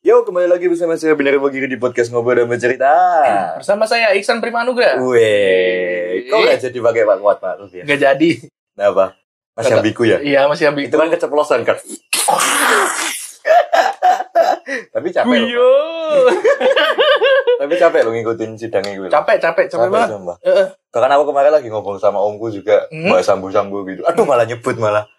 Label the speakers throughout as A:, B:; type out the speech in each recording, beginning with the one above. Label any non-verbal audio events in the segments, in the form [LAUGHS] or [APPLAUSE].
A: kembali lagi bersama saya Binar Bagiri di podcast Ngobrol dan Bercerita.
B: Nah, Bersama saya Iksan
A: Oh,
B: Primanugra.
A: Weh, kok gak jadi pakai Pak Kuat Pak Ruf ya?
B: Gak jadi.
A: Kenapa? Masih
B: Kata-
A: ambiku ya?
B: Iya masih ambil.
A: Itu kan keceplosan kan? [LAUGHS] Tapi capek loh.
B: Guyo.
A: Tapi capek lo ngikutin sidang itu. loh.
B: capek capek capek banget.
A: sumpah.
B: Heeh.
A: Bahkan aku kemarin lagi ngobrol sama omku juga
B: Hmm.
A: bahas sambu-sambu gitu. Aduh malah nyebut
B: [LAUGHS]
A: malah.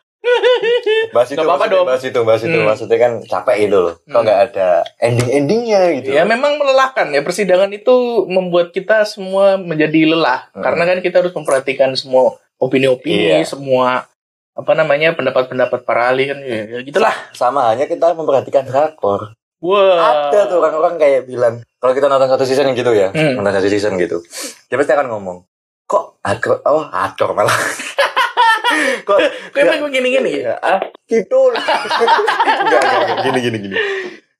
A: Bahas itu,
B: Gak apa-apa
A: maksudnya
B: dong.
A: bahas itu, bahas itu.
B: Hmm.
A: Maksudnya kan capek itu loh. Kok
B: Hmm.
A: gak ada ending-endingnya gitu.
B: Ya memang melelahkan ya persidangan itu membuat kita semua menjadi lelah
A: Hmm.
B: karena kan kita harus memperhatikan semua opini-opini,
A: Iya.
B: semua apa namanya pendapat-pendapat para ahli kan ya, ya gitulah.
A: Sama hanya kita memperhatikan drakor.
B: Wah.
A: ada tuh orang-orang kayak bilang kalau kita nonton satu season yang gitu ya
B: Hmm.
A: nonton satu season gitu dia pasti akan ngomong kok aktor oh aktor malah [LAUGHS] kok
B: Kayak emang gini-gini.
A: ya, ah, gitu [LAUGHS] Enggak, enggak, enggak. gini gini gini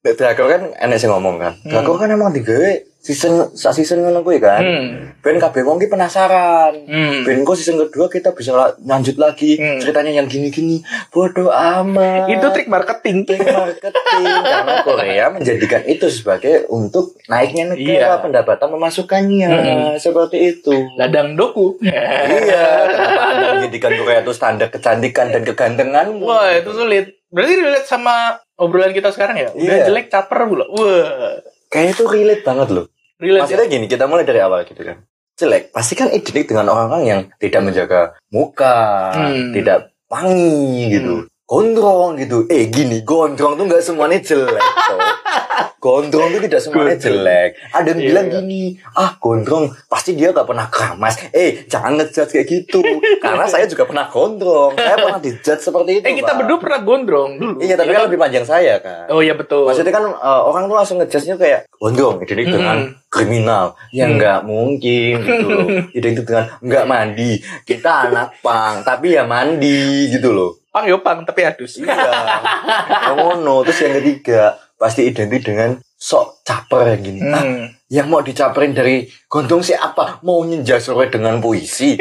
A: Nek drakor kan enak sih ngomong kan
B: Hmm.
A: drakor kan emang digawe season sak season ngono kuwi kan
B: Hmm.
A: ben kabeh wong ki penasaran
B: Hmm.
A: Ben kok season kedua kita bisa la- lanjut lagi
B: Hmm.
A: ceritanya yang gini-gini bodoh amat
B: Itu trik marketing.
A: marketing marketing [LAUGHS] karena Korea menjadikan itu sebagai untuk naiknya negara
B: Iya.
A: pendapatan pemasukannya
B: Mm-mm. Nah.
A: seperti itu
B: Ladang
A: [LAUGHS]
B: doku.
A: iya kenapa Anda menjadikan Korea itu standar kecantikan dan kegantengan
B: Wah itu sulit. Berarti relate sama obrolan kita sekarang ya? Udah
A: Iya.
B: jelek caper pula. Wah.
A: kayaknya itu relate banget loh
B: Relate ya?
A: maksudnya gini kita mulai dari awal gitu kan jelek pasti kan identik dengan orang-orang yang tidak menjaga muka
B: Hmm.
A: tidak wangi gitu gondrong gitu eh gini gondrong tuh nggak semuanya jelek Sob. gondrong tuh tidak semuanya
B: Gondrong.
A: jelek ada yang
B: Iya,
A: bilang
B: iya.
A: gini ah gondrong pasti dia gak pernah keramas eh jangan ngejudge kayak gitu karena saya juga pernah gondrong saya pernah dijudge seperti itu
B: Eh kita
A: Pak.
B: berdua pernah gondrong dulu.
A: iya tapi kan lebih panjang saya kan
B: Oh iya betul.
A: Maksudnya kan eh, orang tuh langsung ngejudge-nya kayak "Oh, gondrong identik
B: Mm-mm.
A: dengan kriminal. Ya
B: Mm.
A: nggak mungkin
B: [LAUGHS]
A: gitu loh. identik dengan nggak mandi. Kita anak pang tapi ya mandi gitu loh.
B: pang yo pang tapi adus.
A: Iya. Ya ngono. Terus yang ketiga pasti identik dengan sok caper yang gini. Ah,
B: Hmm.
A: yang mau dicaperin dari gondrong sih apa? Mau nyenja sore dengan puisi?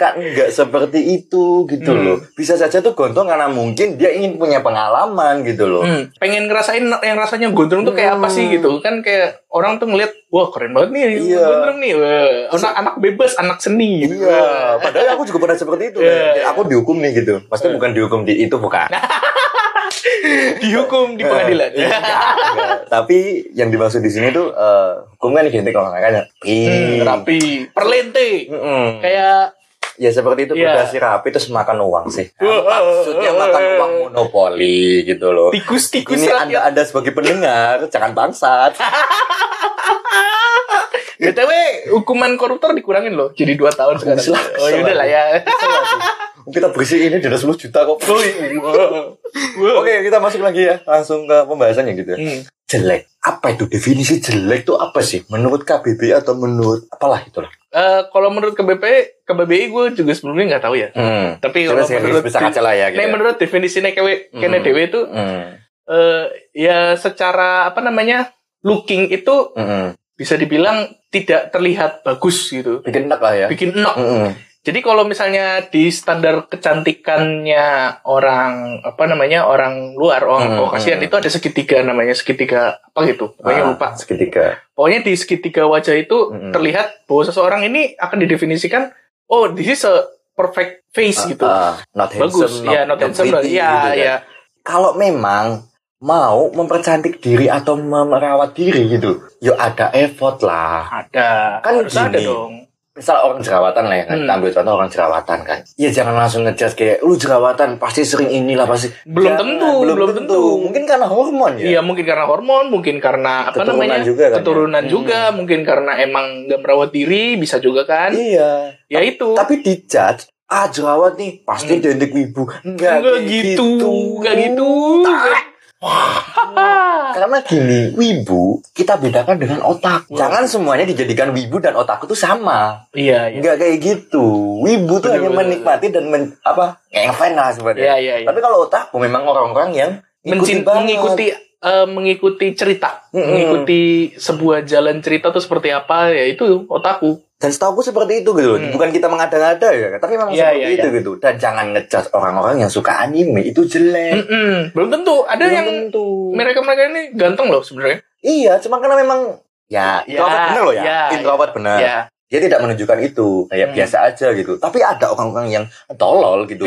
A: kan nggak seperti itu gitu
B: Mm.
A: loh. Bisa saja tuh gondrong karena mungkin dia ingin punya pengalaman gitu loh.
B: Hmm. Pengen ngerasain yang rasanya gondrong tuh kayak apa sih
A: Hmm.
B: gitu kan kayak orang tuh ngeliat wah keren banget nih
A: Iya.
B: gondrong nih Wah, anak anak bebas anak seni gitu.
A: Iya, padahal aku juga pernah seperti itu.
B: Iya,
A: kan.
B: iya.
A: Aku dihukum nih gitu. Maksudnya bukan dihukum di itu bukan.
B: [LAUGHS] dihukum di pengadilan.
A: Iya, enggak, enggak. Tapi yang dimaksud di sini tuh eh, hukum kan identik dengan olahraga
B: Hmm, rapi, perlente. Kayak
A: Ya seperti itu
B: Iya.
A: berdasi rapi terus makan uang sih.
B: Wah,
A: Maksudnya makan uang monopoli gitu loh.
B: tikus-tikus
A: Ini anda,
B: rakyat.
A: anda sebagai pendengar jangan bangsat.
B: BTW hukuman koruptor dikurangin loh. Jadi 2 tahun sekarang.
A: Bisa lah,
B: oh
A: bisa
B: yaudah
A: lah.
B: lah ya.
A: Kita berisi ini dari 10 juta kok.
B: iya. Oke.
A: [LAUGHS] Oke, kita masuk lagi ya langsung ke pembahasannya gitu. ya.
B: Hmm.
A: jelek. Apa itu definisi jelek itu apa sih? Menurut KBBI atau menurut apalah itulah.
B: Eh, kalau menurut KBP, KBBI gue juga sebelumnya nggak tahu ya.
A: Hmm.
B: Tapi
A: Coba
B: kalau
A: serius
B: menurut
A: bisa kaca lah ya gitu.
B: Nek
A: ya.
B: menurut definisinya kewe, kene
A: Hmm.
B: dewe itu
A: Hmm.
B: eh, ya secara apa namanya looking itu
A: Hmm.
B: bisa dibilang tidak terlihat bagus gitu,
A: Bikin enak lah ya.
B: bikin enak.
A: Hmm.
B: Jadi kalau misalnya di standar kecantikannya orang apa namanya orang luar orang
A: Hmm.
B: Caucasian itu ada segitiga namanya segitiga apa gitu, pokoknya
A: Ah,
B: lupa.
A: Segitiga.
B: Pokoknya di segitiga wajah itu
A: Mm-mm.
B: terlihat bahwa seseorang ini akan didefinisikan, oh this is a perfect face gitu.
A: Ah, not handsome.
B: Bagus, ya not handsome,
A: pretty,
B: ya,
A: gitu kan.
B: ya.
A: Kalau memang mau mempercantik diri atau merawat diri gitu, yo ada effort lah.
B: Ada.
A: Kan
B: Harus ada
A: gini.
B: dong.
A: Misal orang jerawatan lah ya kan,
B: Hmm.
A: kita ambil contoh orang jerawatan kan. Ya jangan langsung ngejudge kayak lu jerawatan pasti sering inilah pasti. Jangan,
B: Belum tentu, belum tentu.
A: Mungkin karena hormon ya.
B: Iya, mungkin karena hormon, mungkin karena apa
A: Keturunan
B: namanya?
A: juga kan, ya?
B: keturunan
A: Hmm.
B: juga, mungkin karena emang nggak merawat diri, bisa juga kan?
A: Iya.
B: Ya itu.
A: Tapi dijudge, ah jerawat nih pasti
B: Hmm.
A: identik wibu. Enggak,
B: Nggak
A: kayak
B: gitu, nggak gitu.
A: Tak. Karena gini, wibu kita bedakan dengan otak.
B: Wah.
A: Jangan semuanya dijadikan wibu dan otak itu sama.
B: Iya, iya.
A: Enggak kayak gitu. Wibu tuh
B: Bener,
A: hanya
B: bener,
A: menikmati dan men, apa? Ngefan lah
B: Iya,
A: sebenarnya.
B: iya, iya.
A: Tapi kalau otak memang orang-orang yang
B: Mencin-
A: banget.
B: mengikuti eh, mengikuti cerita,
A: Mm-mm.
B: mengikuti sebuah jalan cerita tuh seperti apa ya itu otaku.
A: Dan setahu seperti itu gitu loh.
B: Hmm.
A: Bukan kita mengada-ngada ya, tapi memang
B: Iya,
A: seperti
B: iya,
A: itu gitu. Dan jangan ngejudge orang-orang yang suka anime itu jelek.
B: Mm-mm. Belum tentu Hmm. ada
A: Belum
B: yang
A: tentu.
B: mereka-mereka ini ganteng loh sebenarnya.
A: Iya, cuma karena memang ya
B: Ya,
A: introvert bener loh ya.
B: ya,
A: introvert bener.
B: Ya.
A: Dia tidak menunjukkan itu, kayak
B: Hmm.
A: biasa aja gitu. Tapi ada orang-orang yang tolol
B: [LAUGHS]
A: gitu.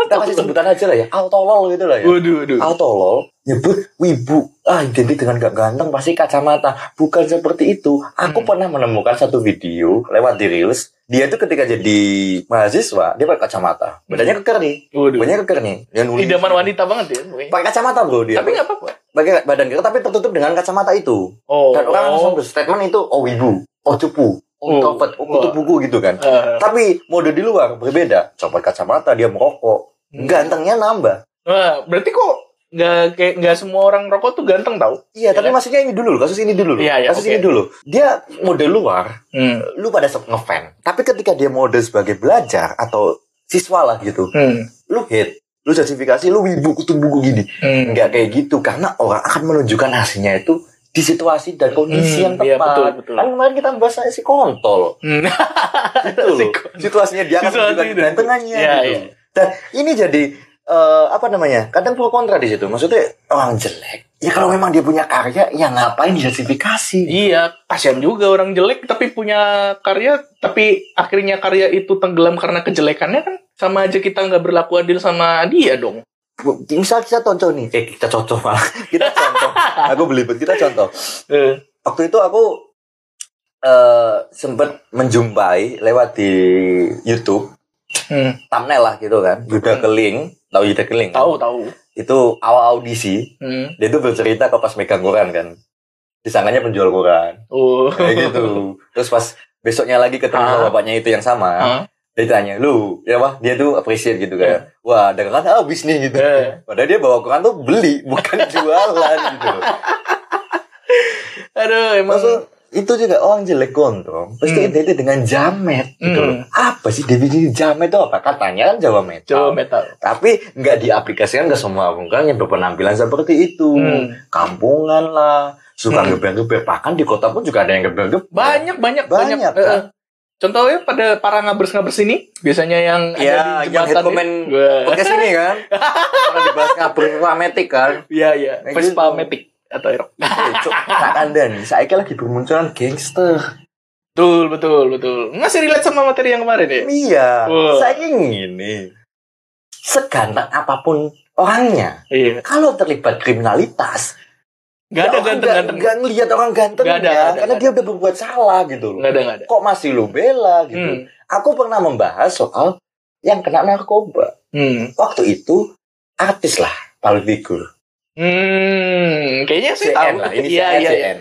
A: kita kasih sebutan aja lah ya, al tolol gitu lah ya.
B: Waduh, waduh.
A: Al tolol nyebut wibu ah identik dengan gak ganteng pasti kacamata bukan seperti itu aku
B: Hmm.
A: pernah menemukan satu video lewat di reels dia tuh ketika jadi mahasiswa dia pakai kacamata badannya keker nih
B: Waduh.
A: badannya keker nih dia nulis
B: Hmm. Idaman wanita banget ya. pokoknya.
A: pakai kacamata bro dia
B: Tapi nggak apa-apa.
A: pakai badan keker tapi tertutup dengan kacamata itu
B: Oh.
A: dan orang langsung berstatement itu oh wibu oh cupu oh
B: Oh.
A: introvert oh
B: Wah.
A: tutup buku gitu kan
B: Eh,
A: tapi mode di luar berbeda copot kacamata dia merokok
B: Hmm.
A: gantengnya nambah
B: Wah, berarti kok nggak kayak nggak semua orang rokok tuh ganteng tau?
A: Iya, tapi
B: Iya.
A: maksudnya ini dulu, loh, kasus ini dulu. loh.
B: Iya, iya,
A: kasus
B: oke.
A: ini dulu. Dia mode luar,
B: Hmm.
A: lu pada sok ngefan. Tapi ketika dia mode sebagai belajar atau siswa lah gitu,
B: Hmm.
A: lu hate. Lu justifikasi, lu wibu, kutu buku gini.
B: Hmm.
A: Enggak kayak gitu, karena orang akan menunjukkan hasilnya itu di situasi dan kondisi yang
B: Hmm, iya,
A: tepat.
B: betul, betul.
A: Kan kemarin kita bahas si kontol.
B: Hmm.
A: Itu loh.
B: Si kontol.
A: Situasinya dia akan
B: Situasi
A: menunjukkan
B: dan-
A: gantengannya
B: Iya,
A: gitu.
B: iya.
A: Dan ini jadi eh, apa namanya? Kadang pro kontra di situ. Maksudnya orang jelek. Ya kalau memang dia punya karya, ya ngapain dijustifikasi?
B: Iya, kasihan juga orang jelek tapi punya karya, tapi akhirnya karya itu tenggelam karena kejelekannya kan sama aja kita nggak berlaku adil sama dia dong.
A: Bu- Misal kita contoh nih, eh kita contoh malah, [LAUGHS] kita contoh. aku belibet, kita contoh.
B: Eh,
A: Waktu itu aku eh sempat menjumpai lewat di YouTube
B: hmm.
A: thumbnail lah gitu kan, Yuda
B: Hmm.
A: Keling, tahu Yuda Keling? kan?
B: Tahu tahu.
A: Itu awal audisi,
B: Hmm.
A: dia itu bercerita kok pas megang koran kan, disangkanya penjual koran.
B: Oh.
A: kayak gitu terus pas besoknya lagi ketemu
B: Ah.
A: sama bapaknya itu yang sama
B: Ah.
A: dia tanya lu ya wah dia tuh appreciate gitu kayak wah dagangan habis nih gitu
B: Eh.
A: padahal dia bawa koran tuh beli
B: [LAUGHS]
A: bukan jualan gitu
B: Aduh, emang
A: maksud itu juga orang jelek gondrong pasti
B: Hmm.
A: identik dengan jamet gitu
B: Hmm.
A: apa sih definisi jamet itu apa katanya kan jawa metal
B: Jawa metal.
A: tapi nggak diaplikasikan ke semua orang kan? yang berpenampilan seperti itu
B: Hmm.
A: kampungan lah suka
B: Hmm.
A: geber-geber bahkan di kota pun juga ada yang geber-geber
B: Banyak banyak banyak.
A: Banyak,
B: Eh,
A: kan?
B: eh. Contohnya pada para ngabers-ngabers ini biasanya Ya, yang
A: Iya,
B: ada di
A: yang
B: jembatan
A: head comment
B: ini. Wah. [LAUGHS]
A: podcast ini kan karena dibahas kabar rametik kan
B: Iya iya.
A: Kayak
B: Vespa
A: gitu.
B: Matic atau Aerox.
A: cocok tak ada nih saya lagi bermunculan gangster
B: Betul betul betul. Masih relate sama materi yang kemarin ya.
A: iya
B: Wah.
A: saya ingin nih seganteng apapun orangnya
B: Iya.
A: kalau terlibat kriminalitas
B: Gak
A: ya
B: ada
A: orang
B: ganteng-ganteng.
A: nggak ngelihat orang ganteng
B: Nggak ada,
A: ya,
B: nggak ada,
A: karena
B: nggak
A: dia udah berbuat salah gitu loh
B: Gak ada gak ada.
A: kok masih lu bela
B: Hmm.
A: gitu aku pernah membahas soal yang kena narkoba
B: Hmm.
A: waktu itu artis lah paling figur
B: Hmm, kayaknya sih
A: CN
B: tahu.
A: lah ini
B: Iya,
A: CN,
B: iya, iya.
A: CN.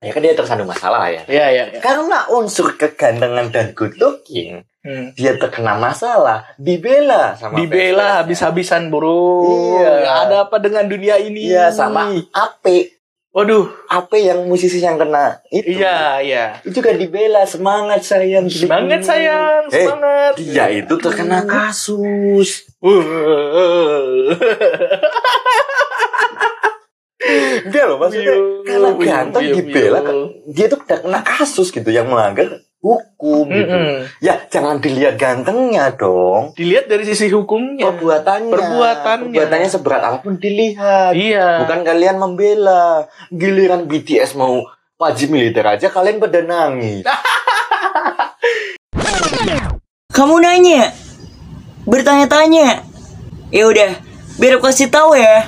A: Ya kan dia tersandung masalah ya.
B: Iya, iya, iya.
A: Karena unsur kegantengan dan good looking,
B: Hmm.
A: dia terkena masalah, dibela sama fans-fansnya.
B: Dibela habis-habisan, Bro.
A: Iya.
B: Ada apa dengan dunia ini?
A: Iya sama AP,
B: Waduh,
A: AP yang musisi yang kena itu.
B: iya, iya.
A: Itu juga dibela semangat sayang.
B: Semangat sayang,
A: Eh,
B: semangat.
A: Dia itu terkena kasus.
B: Uh.
A: Dia loh maksudnya
B: Wiu,
A: karena
B: wiu,
A: ganteng
B: wiu,
A: dibela
B: wiu.
A: ke- dia tuh udah kena kasus gitu yang melanggar hukum gitu.
B: Mm-mm.
A: Ya jangan dilihat gantengnya dong.
B: Dilihat dari sisi hukumnya.
A: perbuatannya
B: Iya. Perbuatannya.
A: perbuatannya seberat apapun dilihat
B: Iya.
A: bukan kalian membela giliran BTS mau wajib militer aja kalian pada nangis
B: Ah,
C: Kamu nanya, bertanya-tanya. Ya udah, biar aku kasih tahu ya.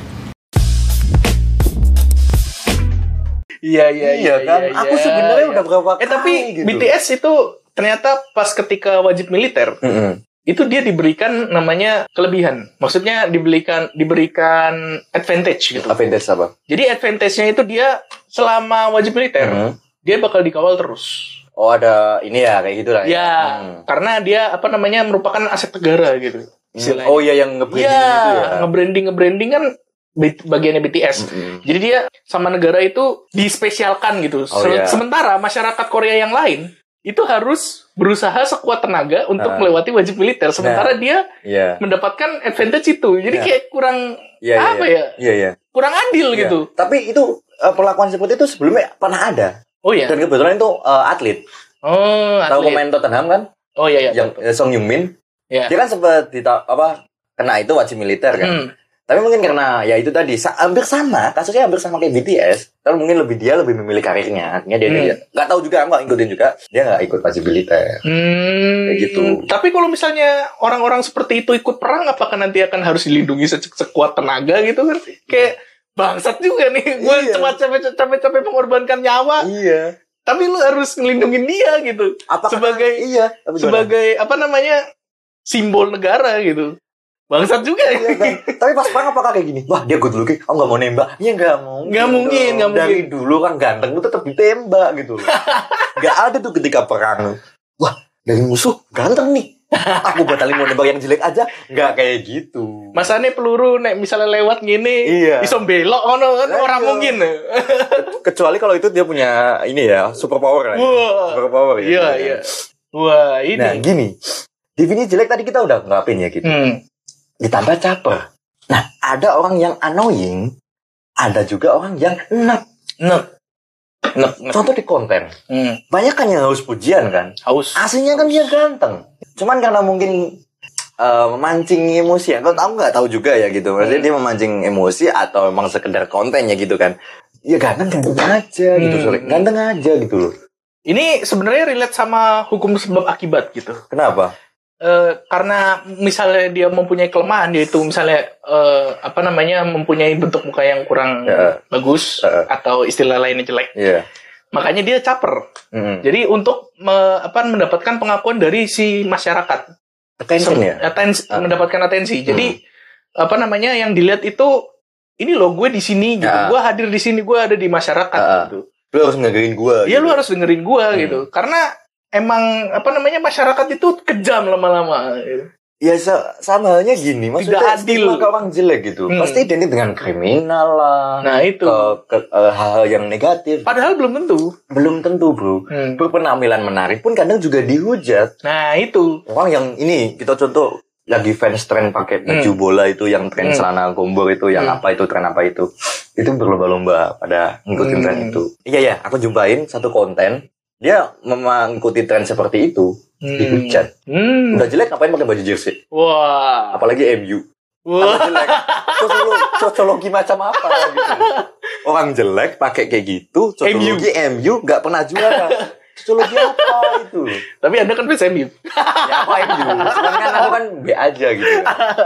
B: Iya, iya, iya.
A: kan
B: iya,
A: aku
B: iya,
A: sebenarnya
B: iya.
A: udah berapa
B: Eh, tapi
A: kali gitu.
B: BTS itu ternyata pas ketika wajib militer,
A: Mm-mm.
B: itu dia diberikan namanya kelebihan. Maksudnya diberikan diberikan advantage gitu.
A: apa yang dari Sabang?
B: Jadi advantage-nya itu dia selama wajib militer,
A: Mm-mm.
B: dia bakal dikawal terus.
A: oh ada ini ya kayak gitu lah
B: Ya,
A: Mm.
B: karena dia apa namanya merupakan aset negara gitu.
A: Mm. oh iya yang nge-branding
B: Iya,
A: itu ya
B: nge-branding nge-branding kan B- bagiannya BTS.
A: Mm-mm.
B: Jadi dia sama negara itu dispesialkan gitu.
A: Oh,
B: Se-
A: iya.
B: Sementara masyarakat Korea yang lain itu harus berusaha sekuat tenaga untuk
A: Ah.
B: melewati wajib militer sementara dia
A: Iya.
B: mendapatkan advantage itu jadi
A: Ya.
B: kayak kurang
A: Iya. iya,
B: apa
A: iya.
B: ya
A: Iya, iya.
B: kurang adil
A: Iya.
B: gitu
A: Tapi itu eh, perlakuan seperti itu sebelumnya pernah ada.
B: oh ya
A: Dan kebetulan itu eh, atlet.
B: oh
A: Tahu
B: atlet.
A: pemain Tottenham kan?
B: oh ya ya
A: yang
B: tahu, tahu.
A: eh, Song Yung Min.
B: Iya.
A: Dia kan sempat dita- apa kena itu wajib militer kan.
B: Hmm.
A: Tapi mungkin karena ya itu tadi sa- hampir sama, kasusnya hampir sama kayak BTS. Tapi mungkin lebih dia lebih memilih karirnya. Akhirnya dia
B: Hmm.
A: dia- nggak tahu juga, nggak ngikutin juga. Dia nggak ikut wajib militer.
B: Hmm,
A: Kayak gitu.
B: Tapi kalau misalnya orang-orang seperti itu ikut perang, apakah nanti akan harus dilindungi se- sekuat tenaga gitu kan? Kayak bangsat juga nih, gue
A: Iya.
B: cuma capek- capek-capek mengorbankan nyawa,
A: Iya.
B: tapi lu harus ngelindungin dia gitu.
A: Apa
B: Sebagai-
A: iya apa gimana?
B: Sebagai apa namanya simbol negara gitu. Bangsat juga ya.
A: Iya, kan? Tapi pas perang apakah kayak gini? Wah dia good looking, oh nggak mau nembak? Ya nggak mungkin.
B: Nggak mungkin,
A: dong.
B: nggak mungkin.
A: Dari dulu kan ganteng itu tetap ditembak gitu loh. nggak ada tuh ketika perang. Wah dari musuh ganteng nih. Aku batalin mau nembak yang jelek aja, nggak kayak gitu.
B: Masane peluru nek misalnya lewat gini,
A: Iya.
B: iso belok ono kan
A: Iya.
B: orang mungkin.
A: Kecuali kalau itu dia punya ini ya super power.
B: Wah.
A: Super power.
B: Iya, iya. Wah,
A: Nah
B: ini.
A: gini, definisi jelek tadi kita udah ngapin ya gitu.
B: Hmm.
A: Ditambah caper. Nah ada orang yang annoying, ada juga orang yang enak.
B: Nek. Nek, nek.
A: Contoh di konten.
B: Hmm.
A: banyak kan yang haus pujian kan
B: Haus.
A: aslinya kan dia ganteng cuman karena mungkin eh, memancing emosi atau tahu nggak tahu juga ya gitu maksudnya
B: Hmm.
A: dia memancing emosi atau emang sekedar kontennya gitu kan ya ganteng ganteng aja gitu
B: Hmm.
A: sorry ganteng aja gitu loh
B: Ini sebenarnya relate sama hukum sebab akibat gitu.
A: kenapa
B: Eh, karena misalnya dia mempunyai kelemahan yaitu misalnya eh, apa namanya mempunyai bentuk muka yang kurang
A: Ya.
B: bagus
A: Ya.
B: atau istilah lainnya jelek.
A: iya
B: Makanya dia caper.
A: Hmm. Mm-mm.
B: Jadi untuk me- apa mendapatkan pengakuan dari si masyarakat,
A: attention
B: Sem-
A: ya
B: atensi-
A: Ah. Hmm.
B: mendapatkan atensi. Jadi apa namanya yang dilihat itu ini loh gue di sini gitu.
A: Ya.
B: Gue hadir di sini, gue ada di masyarakat
A: Ya.
B: gitu.
A: lu harus ngegain gua
B: Iya
A: gitu.
B: lu harus dengerin gua
A: Hmm.
B: gitu. Karena emang apa namanya masyarakat itu kejam lama-lama. gitu.
A: ya sa- sama halnya gini maksudnya
B: Tidak adil.
A: stigma ke orang jelek gitu
B: Hmm.
A: pasti identik dengan kriminal lah
B: Nah itu.
A: ke- ke- eh, hal-hal yang negatif
B: Padahal belum tentu.
A: belum tentu bro
B: Hmm.
A: berpenampilan menarik pun kadang juga dihujat
B: Nah itu.
A: orang yang ini kita contoh lagi fans tren pakai baju bola itu yang tren
B: Hmm.
A: celana gombor itu yang
B: Hmm.
A: apa itu tren apa itu itu berlomba-lomba pada ngikutin
B: Hmm.
A: tren itu iya ya aku jumpain satu konten dia memang ngikuti tren seperti itu
B: Hmm.
A: dihujat
B: Hmm.
A: udah jelek ngapain pakai baju jersey
B: Wah.
A: apalagi MU
B: Wah.
A: Tambah jelek sosiologi, sosiologi macam apa gitu orang jelek pakai kayak gitu sosiologi MU nggak pernah juara sosiologi apa itu
B: Tapi anda kan fans MU.
A: ya apa itu sedangkan aku kan B aja gitu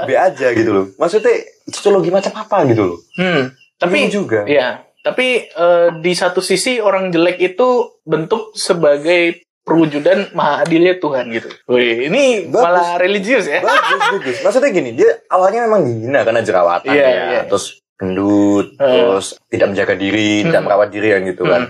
A: B aja gitu loh maksudnya sosiologi macam apa gitu loh
B: Hmm. Tapi
A: Bingung juga
B: Iya. Tapi eh, di satu sisi orang jelek itu bentuk sebagai perwujudan maha adilnya Tuhan gitu. Wih, ini
A: Bagus.
B: malah religius ya.
A: bagus bagus maksudnya gini dia awalnya memang dihina karena jerawatan
B: Iya,
A: ya
B: iya.
A: terus gendut
B: Eh.
A: terus tidak menjaga diri tidak
B: Hmm.
A: merawat diri kan gitu kan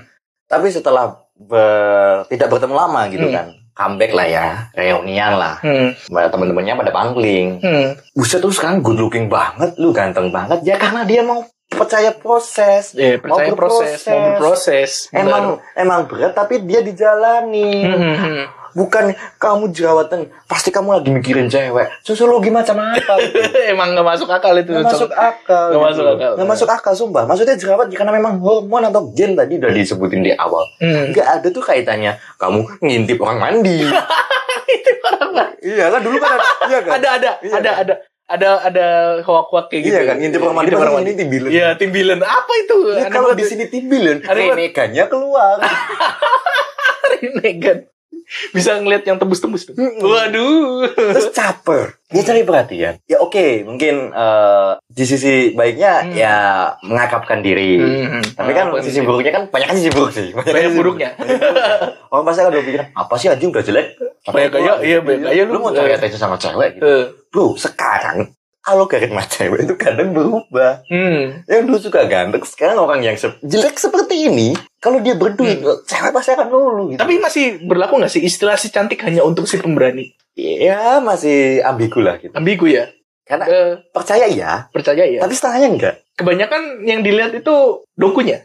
A: tapi setelah ber- tidak bertemu lama gitu
B: Hmm.
A: kan comeback lah ya reunian lah
B: Hmm.
A: Banyak temen-temennya pada pangling
B: Hmm.
A: buset terus sekarang good looking banget lu ganteng banget ya karena dia mau percaya proses
B: Ya, percaya
A: Mau
B: proses,
A: berproses.
B: mau berproses.
A: Emang emang berat tapi dia
B: Benar.
A: dijalani.
B: Hmm, hmm, hmm.
A: Bukan kamu jerawatan, pasti kamu lagi mikirin cewek. Sosiologi macam apa? gitu.
B: Emang [LAUGHS] nggak masuk akal itu.
A: Nggak masuk akal. gitu.
B: Nggak masuk akal.
A: Nggak masuk akal, sumpah. Maksudnya jerawat karena memang hormon atau gen tadi udah disebutin di awal.
B: Hmm.
A: Nggak ada tuh kaitannya kamu ngintip orang
B: [LAUGHS]
A: mandi. Iya kan dulu kan ada, iya kan?
B: Ada ada
A: Iya,
B: ada
A: kan?
B: ada ada ada hoak-hoak kayak gitu.
A: Iya kan, ngintip orang mandi.
B: Ngintip
A: pasti
B: orang mandi.
A: Ini timbilan.
B: Iya, timbilan. Apa itu?
A: Ya,
B: Aneh
A: kalau
B: banget.
A: di sini timbilan,
B: Ada yang-
A: reneganya keluar.
B: Megan. Bisa ngeliat yang tembus-tembus. tuh.
A: Mm-mm.
B: Waduh.
A: terus caper dia cari perhatian ya oke mungkin eh, di sisi baiknya
B: Hmm.
A: ya mengakapkan diri tapi kan
B: Apa
A: sisi
B: sih?
A: buruknya kan banyak kan sisi buruk sih
B: Banyak
A: sisi
B: buruknya.
A: buruk. orang pasti akan berpikir apa sih anjing udah jelek Apa
B: Banyak
A: gua?
B: gaya, iya, banyak gaya lu.
A: lu mau cari attention sama cewek gitu
B: Eh,
A: bro sekarang algoritma cewek itu kadang berubah
B: Hmm.
A: yang dulu suka ganteng sekarang orang yang se- jelek seperti ini kalau dia berduit cewek pasti akan lulu gitu.
B: Hmm. Tapi masih berlaku nggak sih istilah si cantik hanya untuk si pemberani?
A: ya masih ambigu lah gitu
B: Ambigu ya.
A: karena
B: Eh,
A: percaya ya
B: percaya ya.
A: tapi setengahnya enggak
B: kebanyakan yang dilihat itu dokunya.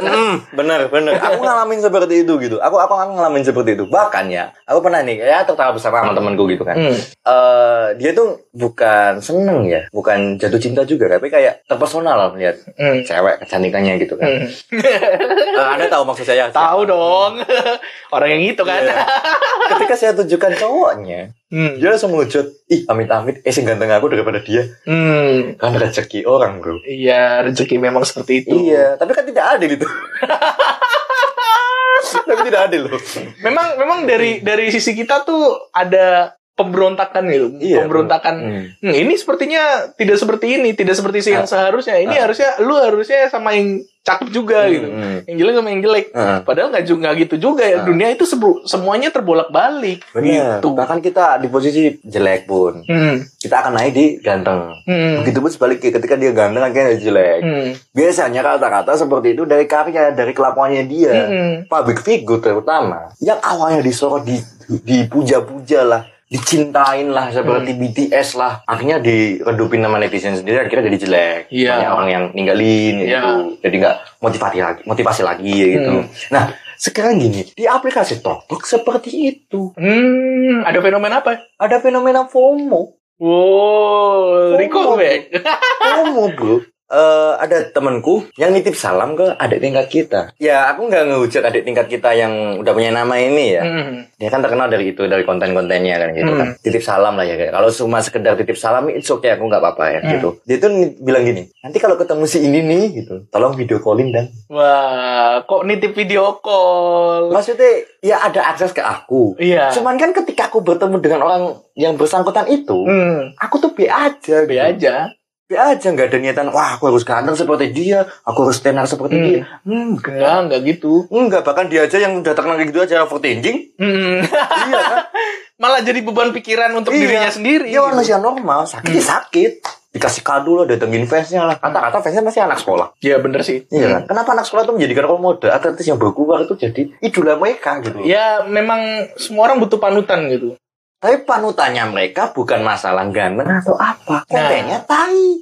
A: Mm, bener bener aku ngalamin seperti itu gitu aku aku aku ngalamin seperti itu bahkan ya aku pernah nih ya tertawa bersama sama temanku gitu kan
B: Hmm.
A: Eh, dia tuh bukan seneng ya bukan jatuh cinta juga tapi kayak terpesona lah melihat
B: Hmm.
A: cewek kecantikannya gitu kan
B: Hmm.
A: Eh, anda tahu maksud saya
B: Tahu dong. Orang yang itu kan.
A: [LAUGHS] Iya. ketika saya tunjukkan cowoknya
B: Hmm.
A: dia langsung melujut ih amit amit eh sing ganteng aku daripada dia
B: Hmm.
A: kan rezeki orang bro
B: Iya, rezeki memang seperti itu.
A: iya tapi kan tidak adil itu [LAUGHS] tapi tidak adil loh
B: Memang memang dari dari sisi kita tuh ada pemberontakan gitu.
A: iya
B: pemberontakan.
A: Hmm.
B: Hmm, ini sepertinya tidak seperti ini, tidak seperti sih yang seharusnya. Ini
A: Ah.
B: harusnya lu harusnya sama yang cakep juga gitu.
A: Hmm.
B: Yang jelek sama yang jelek.
A: Heeh.
B: Padahal nggak juga nggak gitu juga
A: Ah.
B: ya. Dunia itu sebru- semuanya terbolak-balik
A: Bener.
B: gitu.
A: Bahkan kita di posisi jelek pun,
B: Hmm.
A: kita akan naik di ganteng.
B: Hmm.
A: Begitu pun sebaliknya ketika dia ganteng akhirnya dia jelek.
B: Hmm.
A: Biasanya kata-kata seperti itu dari karya, dari kelakuannya dia.
B: Hmm.
A: Public figure terutama yang awalnya disorot, di, dipuja-puja lah, dicintain lah seperti
B: Hmm.
A: BTS lah, akhirnya diredupin sama netizen sendiri akhirnya jadi jelek.
B: Iya.
A: Banyak orang yang ninggalin ya
B: Iya.
A: gitu. Jadi nggak motivasi lagi, motivasi lagi ya gitu.
B: Hmm.
A: Nah, sekarang gini, di aplikasi TikTok seperti itu.
B: Hmm, ada fenomena apa?
A: Ada fenomena FOMO.
B: Wow, Rico
A: [LAUGHS]
B: back.
A: Kamu bro Eh, ada temanku yang nitip salam ke adik tingkat kita. Ya, aku nggak ngehujat adik tingkat kita yang udah punya nama ini ya.
B: Hmm.
A: Dia kan terkenal dari itu, dari konten-kontennya kan gitu
B: Hmm.
A: kan. Titip salam lah ya kayak. Kalau cuma sekedar titip salam, it's okay, aku nggak apa-apa ya
B: Hmm.
A: gitu. Dia tuh ni- bilang gini, nanti kalau ketemu si ini nih gitu, tolong video callin dan.
B: Wah, kok nitip video call?
A: Maksudnya, ya ada akses ke aku.
B: Iya.
A: Cuman kan ketika aku bertemu dengan orang yang bersangkutan itu,
B: Hmm,
A: aku tuh be aja.
B: be
A: gitu.
B: aja.
A: Be aja nggak ada niatan wah aku harus ganteng seperti dia aku harus tenar seperti
B: Hmm.
A: dia enggak
B: Enggak, enggak gitu.
A: enggak bahkan dia aja yang udah terkenal kayak gitu aja
B: [LAUGHS]
A: overthinking
B: Hmm.
A: iya kan
B: Malah jadi beban pikiran
A: Iya.
B: untuk dirinya sendiri.
A: dia orang manusia normal sakit ya sakit dikasih kado lah datengin fansnya lah kata-kata fansnya masih anak sekolah
B: Iya, bener sih.
A: iya kan kenapa anak sekolah itu menjadikan role model atletis yang berkuah itu jadi idola mereka gitu
B: Ya, memang semua orang butuh panutan gitu.
A: tapi panutannya mereka bukan masalah ganteng atau apa kontennya tai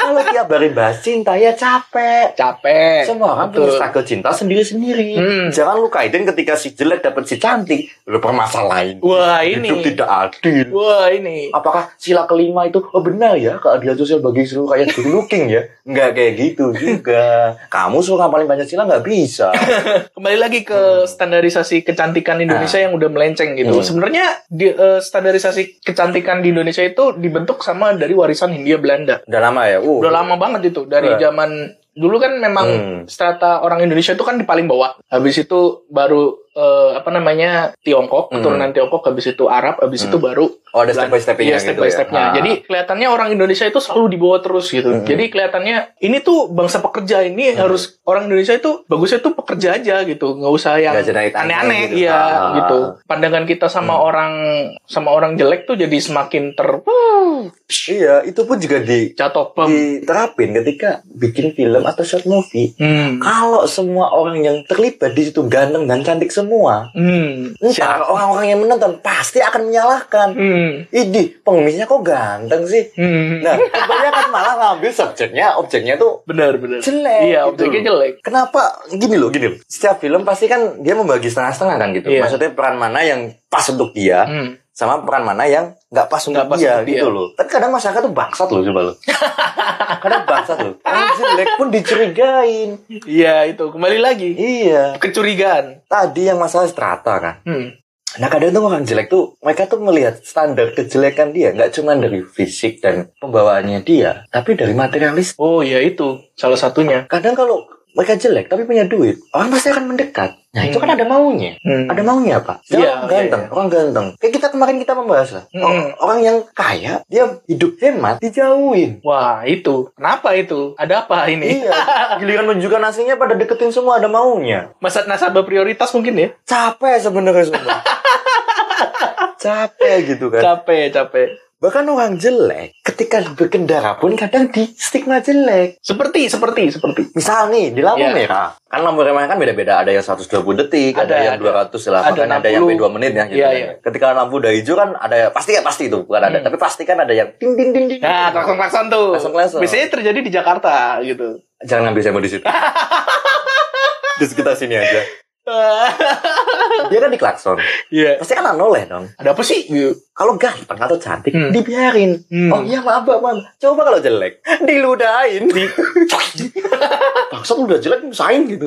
A: kalau tiap hari bahas cinta ya capek
B: Capek.
A: Semua orang
B: Betul.
A: punya struggle Eh, cinta sendiri-sendiri.
B: Hmm.
A: Jangan lu kaitin ketika si jelek dapet si cantik, lu permasalahin.
B: Wah, ini.
A: Hidup tidak adil.
B: Wah, ini.
A: Apakah sila kelima itu oh benar ya keadilan sosial bagi seluruh kayak good looking ya? Enggak kayak gitu juga. Kamu suka paling banyak sila nggak bisa.
B: Kembali lagi ke
A: Ah.
B: standarisasi kecantikan Indonesia yang udah melenceng gitu.
A: Hmm.
B: Sebenarnya di- eh, standarisasi kecantikan di Indonesia itu dibentuk sama dari warisan Hindia Belanda.
A: Udah lama ya? Uh.
B: udah lama banget itu dari
A: Udah.
B: zaman dulu kan memang
A: Hmm.
B: strata orang Indonesia itu kan di paling bawah habis itu baru eh, apa namanya Tiongkok
A: Hmm.
B: keturunan Tiongkok habis itu Arab habis
A: Hmm.
B: itu baru
A: Oh ada step by stepnya
B: Iya, step by stepnya jadi kelihatannya orang Indonesia itu selalu dibawa terus gitu
A: Ah. Hmm.
B: jadi kelihatannya ini tuh bangsa pekerja ini
A: Hmm.
B: harus orang Indonesia itu bagusnya tuh pekerja aja gitu nggak usah yang
A: Nggak jadi tanya
B: aneh-aneh
A: gitu.
B: iya
A: Ah.
B: gitu pandangan kita sama
A: Hmm.
B: orang sama orang jelek tuh jadi semakin ter wuh,
A: Iya, itu pun juga di Iya.
B: jatuh pem
A: diterapin ketika bikin film atau short movie.
B: Hmm.
A: Kalau semua orang yang terlibat di situ ganteng dan cantik semua,
B: Hmm.
A: Entar orang-orang yang menonton pasti akan menyalahkan.
B: Hmm.
A: Ini pengemisnya kok ganteng sih?
B: Hmm.
A: Nah,
B: [LAUGHS]
A: kebanyakan malah ngambil subjeknya, objeknya tuh
B: benar benar.
A: jelek.
B: Iya,
A: gitu
B: objeknya
A: loh.
B: jelek.
A: Kenapa gini loh, gini loh. Setiap film pasti kan dia membagi setengah-setengah kan gitu.
B: Iya.
A: Maksudnya peran mana yang pas untuk dia
B: Hmm.
A: sama peran mana yang nggak pas untuk
B: Nggak pas
A: dia
B: untuk
A: gitu
B: dia.
A: loh. Tapi kadang masyarakat tuh bangsat loh coba loh. kadang bangsat loh. Orang jelek pun dicurigain.
B: Iya, itu. Kembali lagi.
A: Iya.
B: Kecurigaan.
A: Tadi yang masalah strata kan.
B: Hmm.
A: Nah kadang tuh orang jelek tuh mereka tuh melihat standar kejelekan dia nggak cuma dari fisik dan pembawaannya dia, tapi dari materialis.
B: Oh, ya itu salah satunya.
A: Kadang kalau mereka jelek tapi punya duit, orang pasti akan mendekat. Nah itu kan
B: Hmm.
A: ada maunya.
B: Hmm.
A: Ada maunya apa? Sedangkan
B: Iya,
A: orang ganteng,
B: iya,
A: orang ganteng. Kayak kita kemarin kita membahas lah.
B: Hmm.
A: Or- Orang yang kaya, dia hidup hemat, dijauhin.
B: Wah, itu. Kenapa itu? Ada apa ini?
A: iya, giliran menunjukkan aslinya pada deketin semua ada maunya.
B: Masa nasabah prioritas mungkin ya? [LAUGHS]
A: Capek sebenarnya semua. Capek gitu kan.
B: Capek, capek.
A: Bahkan orang jelek ketika berkendara pun kadang di stigma jelek.
B: Seperti, seperti, seperti.
A: Misal nih di lampu
B: Iya.
A: merah, kan lampu merah kan beda-beda. Ada yang 120 detik, ada,
B: Ada,
A: yang
B: ada.
A: 200 silakan,
B: Ada
A: ada, yang
B: 60.
A: 2 menit ya. Gitu
B: Iya,
A: kan.
B: iya.
A: Ketika lampu udah hijau kan ada pasti ya pasti itu bukan ada,
B: Hmm.
A: tapi pasti kan ada yang ding ding ding ding.
B: Nah, klakson-klakson tuh.
A: Klakson-klakson.
B: Biasanya terjadi di Jakarta gitu. [LAUGHS]
A: Jangan ambil saya di [LAUGHS] situ. di sekitar sini aja. Dia kan di klakson.
B: Iya.
A: Pasti kan anoleh dong.
B: Ada apa sih? Gitu.
A: Kalau ganteng atau cantik
B: Hmm.
A: dibiarin.
B: Hmm.
A: Oh iya maaf Bang, maaf. Coba kalau jelek diludahin. [LAUGHS] Bangsa udah jelek sain
B: [LAUGHS]
A: gitu.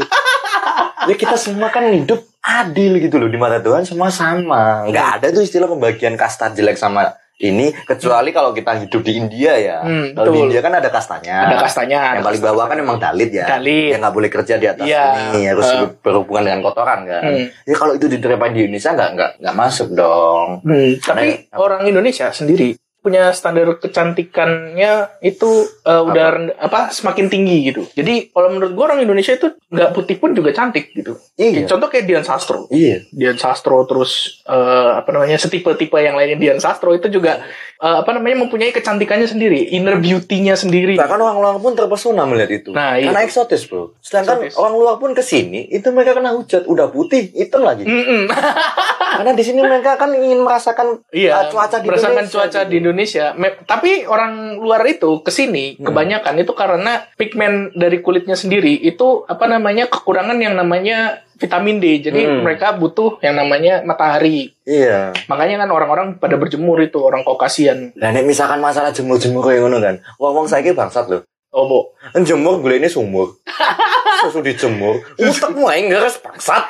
A: ya kita semua kan hidup adil gitu loh di mata Tuhan semua sama. Nggak ada tuh istilah pembagian kasta jelek sama ini kecuali kalau kita hidup di India ya.
B: Hmm,
A: kalau di
B: betul.
A: India kan ada kastanya.
B: Ada kastanya.
A: Yang
B: ada
A: paling bawah kan emang dalit ya.
B: Dalit.
A: Yang nggak boleh kerja di atas
B: Iya.
A: ini harus
B: Eh.
A: berhubungan dengan kotoran kan.
B: Hmm.
A: Ya kalau itu diterapkan di Indonesia nggak nggak nggak masuk dong.
B: Hmm, tapi
A: Karena-
B: orang Indonesia sendiri punya standar kecantikannya itu eh, udah
A: Apa?
B: rend- apa semakin tinggi gitu. Jadi kalau menurut gua orang Indonesia itu nggak putih pun juga cantik gitu.
A: Iya.
B: Contoh kayak Dian Sastro.
A: Iya.
B: Dian Sastro terus eh, apa namanya setipe-tipe yang lainnya Dian Sastro itu juga eh, apa namanya mempunyai kecantikannya sendiri, inner beauty-nya sendiri.
A: Bahkan orang luar pun terpesona melihat itu.
B: Iya. Nah, iya.
A: Karena eksotis, Bro. Sedangkan
B: Eksotis.
A: orang luar pun ke sini, itu mereka kena hujat, udah putih, hitam lagi.
B: Mm-mm. [LAUGHS]
A: Karena di sini mereka kan ingin merasakan
B: Iya,
A: uh, cuaca di
B: merasakan
A: Indonesia. gitu.
B: cuaca di Indonesia. Me- Tapi orang luar itu kesini
A: Hmm.
B: kebanyakan itu karena pigmen dari kulitnya sendiri itu apa namanya kekurangan yang namanya vitamin D. Jadi
A: Hmm.
B: mereka butuh yang namanya matahari.
A: Iya.
B: Makanya kan orang-orang pada berjemur itu orang Kaukasian.
A: Nah, nek misalkan masalah jemur-jemur kayak ngono kan. Wong-wong saiki bangsat loh.
B: Obo.
A: Jemur gue ini
B: [LAUGHS]
A: sumur. Susu dijemur, utekmu ae ngeres bangsat.